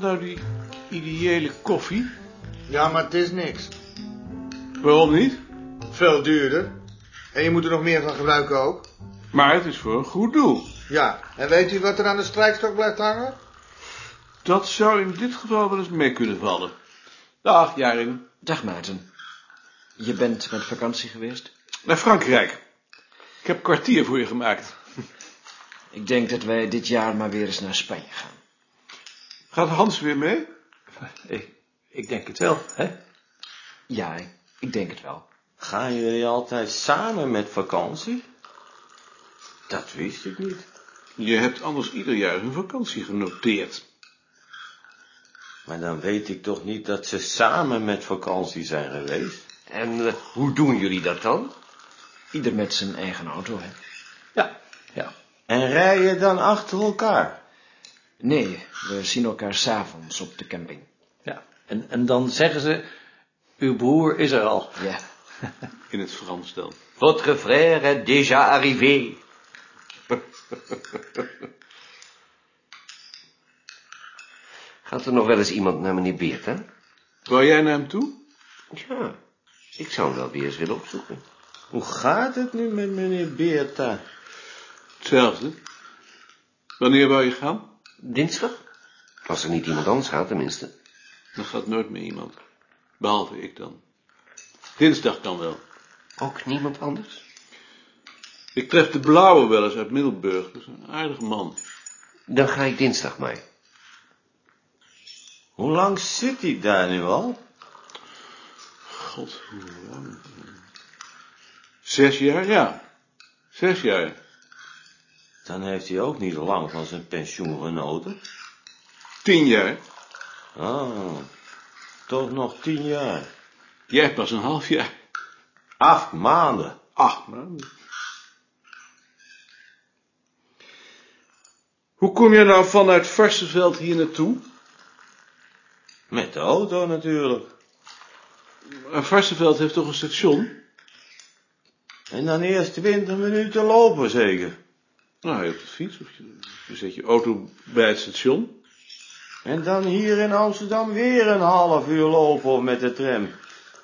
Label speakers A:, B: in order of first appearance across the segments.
A: nou die ideële koffie?
B: Ja, maar het is niks.
A: Waarom niet?
B: Veel duurder. En je moet er nog meer van gebruiken ook.
A: Maar het is voor een goed doel.
B: Ja, en weet u wat er aan de strijkstok blijft hangen?
A: Dat zou in dit geval wel eens mee kunnen vallen. Dag, Jarin.
C: Dag Maarten. Je bent met vakantie geweest?
A: Naar Frankrijk. Ik heb kwartier voor je gemaakt.
C: Ik denk dat wij dit jaar maar weer eens naar Spanje gaan.
A: Gaat Hans weer mee?
D: Ik, ik denk het wel, hè?
C: Ja, ik- ik denk het wel.
E: Gaan jullie altijd samen met vakantie? Dat wist ik niet.
A: Je hebt anders ieder jaar een vakantie genoteerd.
E: Maar dan weet ik toch niet dat ze samen met vakantie zijn geweest.
D: En hoe doen jullie dat dan?
C: Ieder met zijn eigen auto, hè?
D: Ja, ja.
E: En rijden dan achter elkaar.
C: Nee, we zien elkaar s'avonds op de camping.
D: ja. En, en dan zeggen ze, uw broer is er al.
C: Ja.
A: In het Frans dan.
F: Votre frère est déjà arrivé. Gaat er nog wel eens iemand naar meneer Beert, hè?
A: Wou jij naar hem toe?
F: Ja, ik zou hem wel weer eens willen opzoeken.
E: Hoe gaat het nu met meneer Beerta?
A: Hetzelfde. Wanneer wou je gaan?
F: Dinsdag? Als er niet iemand anders gaat, tenminste.
A: Dan gaat nooit meer iemand. Behalve ik dan. Dinsdag kan wel.
F: Ook niemand anders?
A: Ik tref de blauwe wel eens uit Middelburg. Dat is een aardig man.
F: Dan ga ik dinsdag maar.
E: Hoe lang zit hij daar nu al?
A: God, hoe lang? Zes jaar, ja. Zes jaar.
E: Dan heeft hij ook niet lang van zijn pensioen genoten.
A: Tien jaar.
E: Oh, toch nog tien jaar.
A: Jij pas een half jaar.
E: Acht maanden.
A: Acht maanden. Hoe kom je nou vanuit Varsenveld hier naartoe?
E: Met de auto natuurlijk.
A: Maar Varsenveld Eh, heeft toch een station?
E: En dan eerst twintig minuten lopen zeker.
A: Nou, je hebt de fiets of je, je zet je auto bij het station.
E: En dan hier in Amsterdam weer een half uur lopen of met de tram.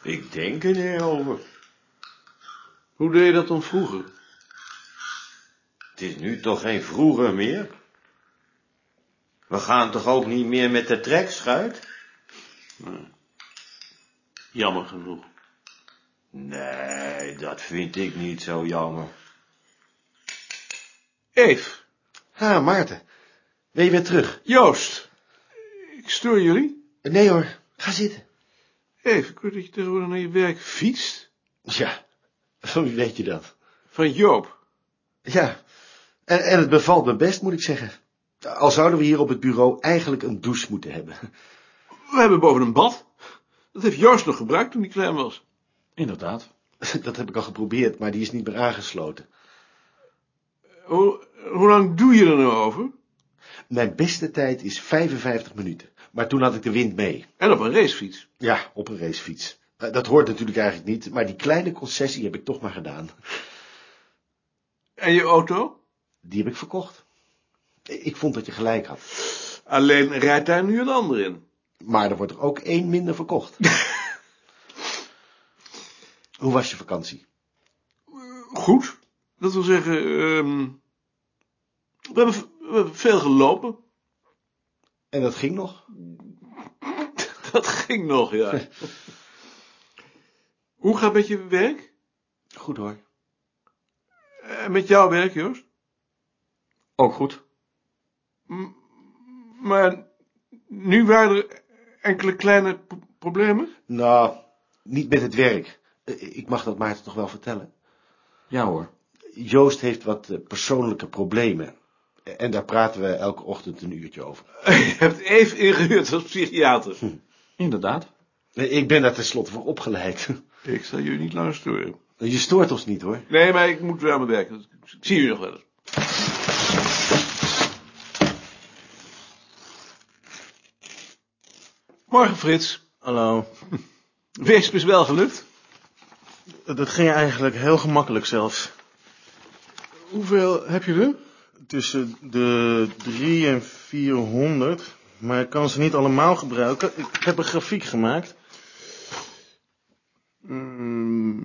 E: Ik denk er niet over.
A: Hoe deed je dat dan vroeger?
E: Het is nu toch geen vroeger meer? We gaan toch ook niet meer met de trekschuit?
A: Jammer genoeg.
E: Nee, dat vind ik niet zo jammer.
A: Eve,
B: Ha, Maarten. Ben je weer terug?
A: Joost, ik stoor jullie.
B: Nee hoor, ga zitten.
A: Eve, ik hoor dat je tegenwoordig naar je werk fietst.
B: Ja,
E: Oh,
B: hoe weet je dat?
A: Van Joop.
B: Ja, en, en het bevalt me best, moet ik zeggen. Al zouden we hier op het bureau eigenlijk een douche moeten hebben.
A: We hebben boven een bad. Dat heeft Joost nog gebruikt toen hij klein was.
D: Inderdaad.
B: Dat heb ik al geprobeerd, maar die is niet meer aangesloten.
A: Hoe, hoe lang doe je er nou over?
B: Mijn beste tijd is 55 minuten, maar toen had ik de wind mee.
A: En op een racefiets.
B: Ja, op een racefiets. Eh, Dat hoort natuurlijk eigenlijk niet, maar die kleine concessie heb ik toch maar gedaan.
A: En je auto?
B: Die heb ik verkocht. Ik vond dat je gelijk had.
A: Alleen rijdt daar nu een ander in.
B: Maar er wordt er ook één minder verkocht. Hoe was je vakantie?
A: Goed. Dat wil zeggen, ehm, we, hebben, v- we hebben veel gelopen.
B: En dat ging nog?
A: Dat ging nog, ja. Hoe gaat het met je werk?
B: Goed hoor.
A: En met jouw werk, Joost?
D: Ook goed.
A: Maar nu waren er enkele kleine pro- problemen.
B: Nou, niet met het werk. Eh, Ik mag dat Maarten toch wel vertellen.
C: Ja hoor.
B: Joost heeft wat eh, persoonlijke problemen. Eh, En daar praten we elke ochtend een uurtje over.
A: Je hebt even ingehuurd als psychiater.
D: Inderdaad.
B: Nee, Eh, Ik ben daar tenslotte voor opgeleid.
A: Ik zal jullie niet langer storen.
B: Je stoort ons niet hoor.
A: Nee, maar ik moet weer aan mijn werk. Dus Ik zie jullie nog wel eens. Morgen, Frits.
G: Hallo.
A: Wees is wel gelukt.
G: Dat ging eigenlijk heel gemakkelijk zelfs.
A: Hoeveel heb je er?
G: Tussen de 3 en 400. maar ik kan ze niet allemaal gebruiken. Ik heb een grafiek gemaakt.
A: Ehm,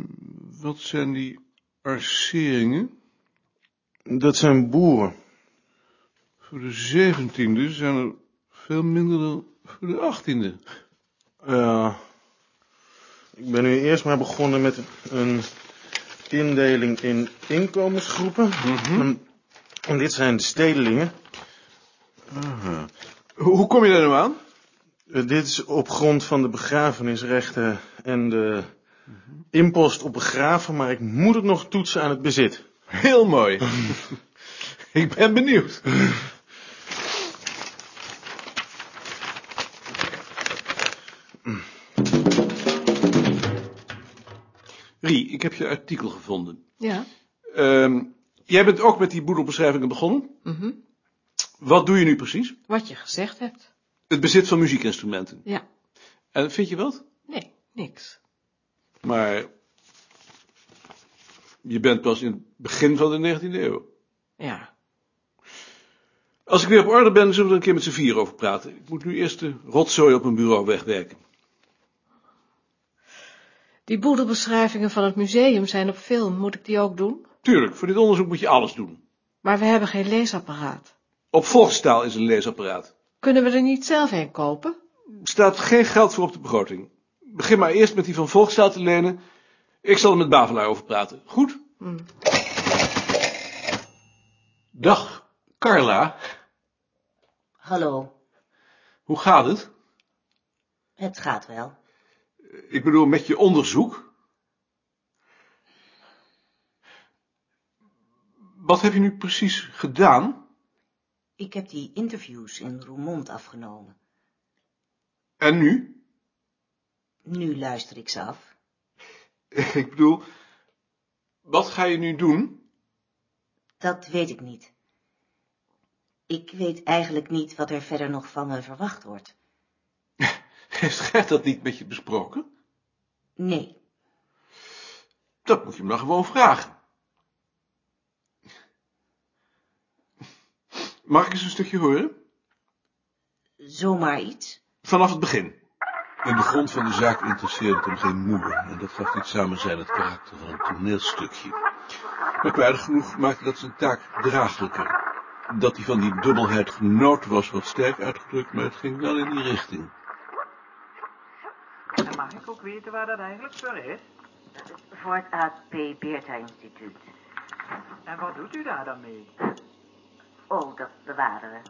A: wat zijn die arceringen?
G: Dat zijn boeren.
A: Voor de zeventiende zijn er veel minder dan voor de achttiende.
G: Ja. Eh, Ik ben nu eerst maar begonnen met een indeling in inkomensgroepen. En- En dit zijn de stedelingen.
A: Hoe hoe kom je daar nou aan?
G: Eh, Dit is op grond van de begrafenisrechten en de impost op begraven, maar ik moet het nog toetsen aan het bezit.
A: Heel mooi. Ik ben benieuwd. Rie, ik heb je artikel gevonden.
H: Ja.
A: Ehm, jij bent ook met die boedelbeschrijvingen begonnen.
H: Mhm.
A: Wat doe je nu precies?
H: Wat je gezegd hebt.
A: Het bezit van muziekinstrumenten.
H: Ja.
A: En vind je wat?
H: Nee, niks.
A: Maar je bent pas in het begin van de 19e eeuw.
H: Ja.
A: Als ik weer op orde ben, zullen we er een keer met z'n vier over praten. Ik moet nu eerst de rotzooi op mijn bureau wegwerken.
H: Die boedelbeschrijvingen van het museum zijn op film. Moet ik die ook doen?
A: Tuurlijk, voor dit onderzoek moet je alles doen.
H: Maar we hebben geen leesapparaat.
A: Op volkstaal is een leesapparaat.
H: Kunnen we er niet zelf een kopen?
A: Er staat geen geld voor op de begroting. Begin maar eerst met die van volkstaal te lenen. Ik zal er met Bavelaar over praten. Goed? Dag, Carla.
I: Hallo,
A: Hoe gaat het?
I: het gaat wel.
A: Ik bedoel, met je onderzoek. Wat heb je nu precies gedaan?
I: Ik heb die interviews in Roermond afgenomen.
A: En nu?
I: Nu luister ik ze af.
A: Ik bedoel, wat ga je nu doen?
I: Dat weet ik niet. Ik weet eigenlijk niet wat er verder nog van me verwacht wordt.
A: Heeft Gert dat niet met je besproken?
I: Nee,
A: Dat moet je hem dan gewoon vragen. Mag ik eens een stukje horen?
I: zomaar iets.
A: Vanaf het begin. In de grond van de zaak interesseerde het hem geen moeder. En dat gaf dit samen zijn het karakter van een toneelstukje. Merkwaardig genoeg maakte dat zijn taak draaglijker. Dat hij van die dubbelheid genoot was wat sterk uitgedrukt, maar het ging wel in die richting.
J: En mag ik ook weten waar dat eigenlijk voor is?
I: Voor het AP Beerta Instituut.
J: En wat doet u daar dan mee?
I: Oh, dat bewaren we.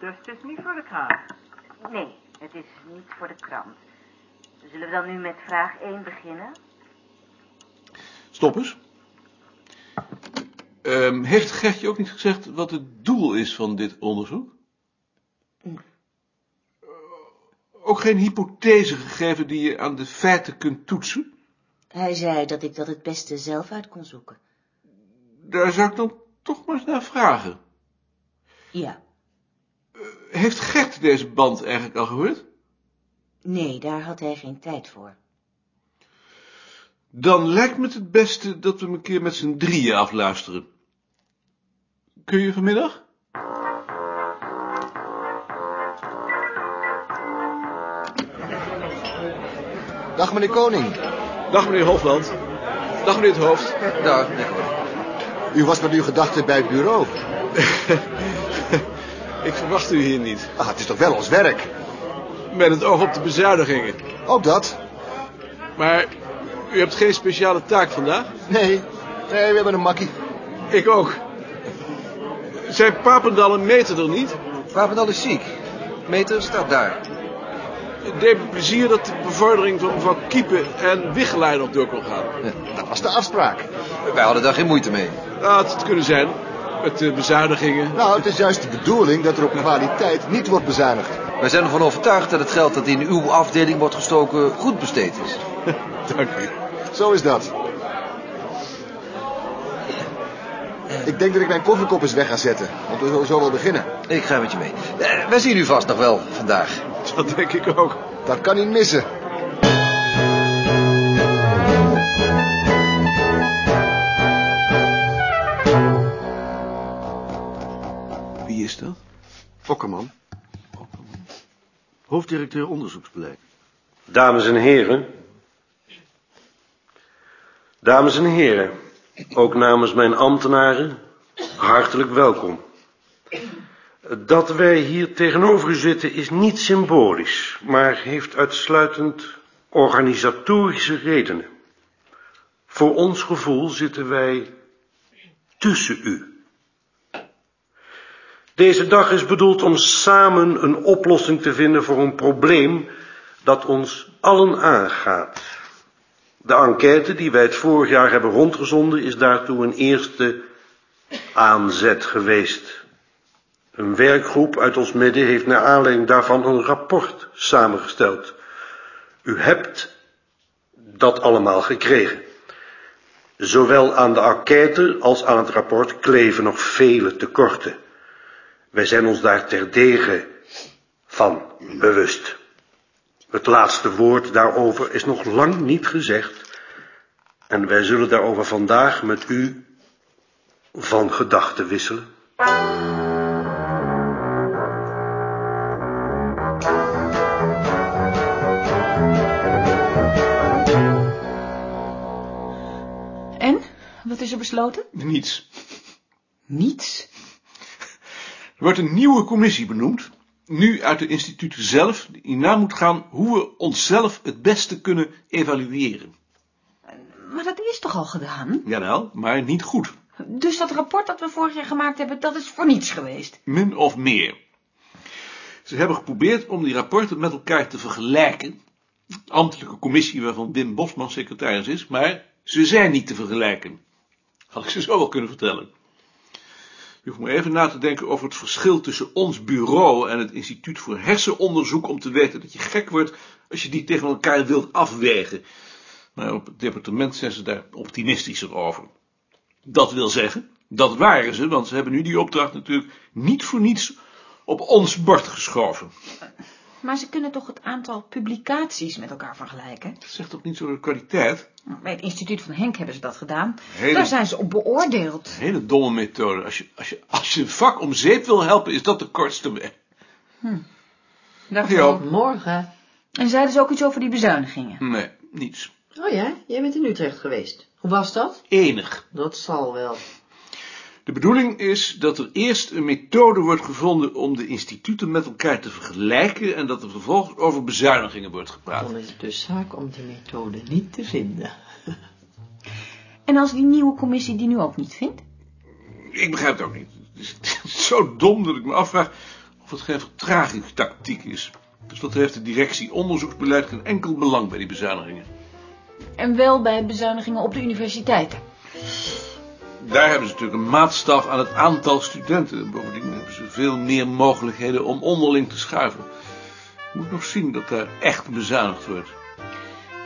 J: Dus het is niet voor de kraan.
I: Nee, het is niet voor de krant. Zullen we dan nu met vraag 1 beginnen?
A: Stop eens. Ehm, heeft Gertje ook niet gezegd wat het doel is van dit onderzoek? Eh, Ook geen hypothese gegeven die je aan de feiten kunt toetsen?
I: Hij zei dat ik dat het beste zelf uit kon zoeken.
A: Daar zou ik dan toch maar eens naar vragen.
I: Ja,
A: Heeft Gert deze band eigenlijk al gehoord?
I: nee, daar had hij geen tijd voor.
A: Dan lijkt me het het beste dat we hem een keer met z'n drieën afluisteren. Kun je vanmiddag?
B: Dag meneer Koning.
A: Dag meneer Hofland. Dag meneer het Hoofd.
F: Dag, Nico.
B: U was met uw gedachten bij het bureau.
A: Ik verwacht u hier niet.
B: Ah, het is toch wel ons werk?
A: Met het oog op de bezuinigingen.
B: Ook dat?
A: Maar u hebt geen speciale taak vandaag?
B: Nee. Nee, we hebben een makkie.
A: Ik ook. Zijn Papendal en Meter er niet?
F: Papendal is ziek. Meter staat daar.
A: Het deed me plezier dat de bevordering van mevrouw Kiepen en Wichelaar nog door kon gaan.
B: Dat was de afspraak.
F: Wij hadden daar geen moeite mee.
A: Ja, het had kunnen zijn. Met de bezuinigingen.
B: Nou, het is juist de bedoeling dat er op kwaliteit niet wordt bezuinigd.
F: Wij zijn ervan overtuigd dat het geld dat in uw afdeling wordt gestoken goed besteed is.
A: Dank u.
B: Zo is dat. Ik denk dat ik mijn kofferkop eens weg ga zetten. Want we zullen zo wel beginnen.
F: Ik ga met je mee. Eh, wij zien u vast nog wel vandaag.
A: Dat denk ik ook.
B: Dat kan niet missen.
A: Wie is dat?
B: Fokkerman.
K: hoofddirecteur onderzoeksbeleid.
E: Dames en heren. Dames en heren. Ook namens mijn ambtenaren. Hartelijk welkom. Dat wij hier tegenover u zitten is niet symbolisch, maar heeft uitsluitend organisatorische redenen. Voor ons gevoel zitten wij tussen u. Deze dag is bedoeld om samen een oplossing te vinden voor een probleem dat ons allen aangaat. De enquête die wij het vorig jaar hebben rondgezonden is daartoe een eerste aanzet geweest. Een werkgroep uit ons midden heeft naar aanleiding daarvan een rapport samengesteld. U hebt dat allemaal gekregen. Zowel aan de enquête als aan het rapport kleven nog vele tekorten. Wij zijn ons daar terdege van bewust. Het laatste woord daarover is nog lang niet gezegd. En wij zullen daarover vandaag met u van gedachten wisselen.
L: En? Wat is er besloten?
A: Niets.
L: Niets?
A: Er wordt een nieuwe commissie benoemd. Nu uit de instituten zelf, die na moet gaan hoe we onszelf het beste kunnen evalueren.
L: Maar dat is toch al gedaan?
A: Jawel, maar niet goed.
L: Dus dat rapport dat we vorig jaar gemaakt hebben, dat is voor niets geweest.
A: Min of meer. Ze hebben geprobeerd om die rapporten met elkaar te vergelijken. De ambtelijke commissie waarvan Wim Bosman secretaris is, maar ze zijn niet te vergelijken. Had ik ze zo wel kunnen vertellen. Je hoeft maar even na te denken over het verschil tussen ons bureau en het Instituut voor Hersenonderzoek om te weten dat je gek wordt als je die tegen elkaar wilt afwegen. Maar op het departement zijn ze daar optimistischer over. Dat wil zeggen, dat waren ze, want ze hebben nu die opdracht natuurlijk niet voor niets op ons bord geschoven.
L: Maar ze kunnen toch het aantal publicaties met elkaar vergelijken?
A: Dat zegt toch niet zo de kwaliteit?
L: Bij het instituut van Henk hebben ze dat gedaan.
A: Hele-
L: Daar zijn ze op beoordeeld.
A: Een hele domme methode. Als je, als, je, als je een vak om zeep wil helpen, is dat de kortste weg.
L: Dag,
A: Ja.
L: Joop.
M: Morgen.
L: En zeiden ze ook iets over die bezuinigingen?
A: Nee, niets.
M: Oh ja, jij bent in Utrecht geweest. Hoe was dat?
A: Enig.
M: Dat zal wel.
A: De bedoeling is dat er eerst een methode wordt gevonden om de instituten met elkaar te vergelijken en dat er vervolgens over bezuinigingen wordt gepraat.
M: Dan is het dus zaak om die methode niet te vinden.
L: En als die nieuwe commissie die nu ook niet vindt?
A: Ik begrijp het ook niet. Het is zo dom dat ik me afvraag of het geen vertragingstactiek is. Dus wat heeft de directie onderzoeksbeleid geen enkel belang bij die bezuinigingen.
L: En wel bij bezuinigingen op de universiteiten.
A: Daar hebben ze natuurlijk een maatstaf aan het aantal studenten. Bovendien hebben ze veel meer mogelijkheden om onderling te schuiven. Ik moet nog zien dat daar echt bezuinigd wordt.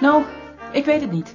L: Nou, ik weet het niet.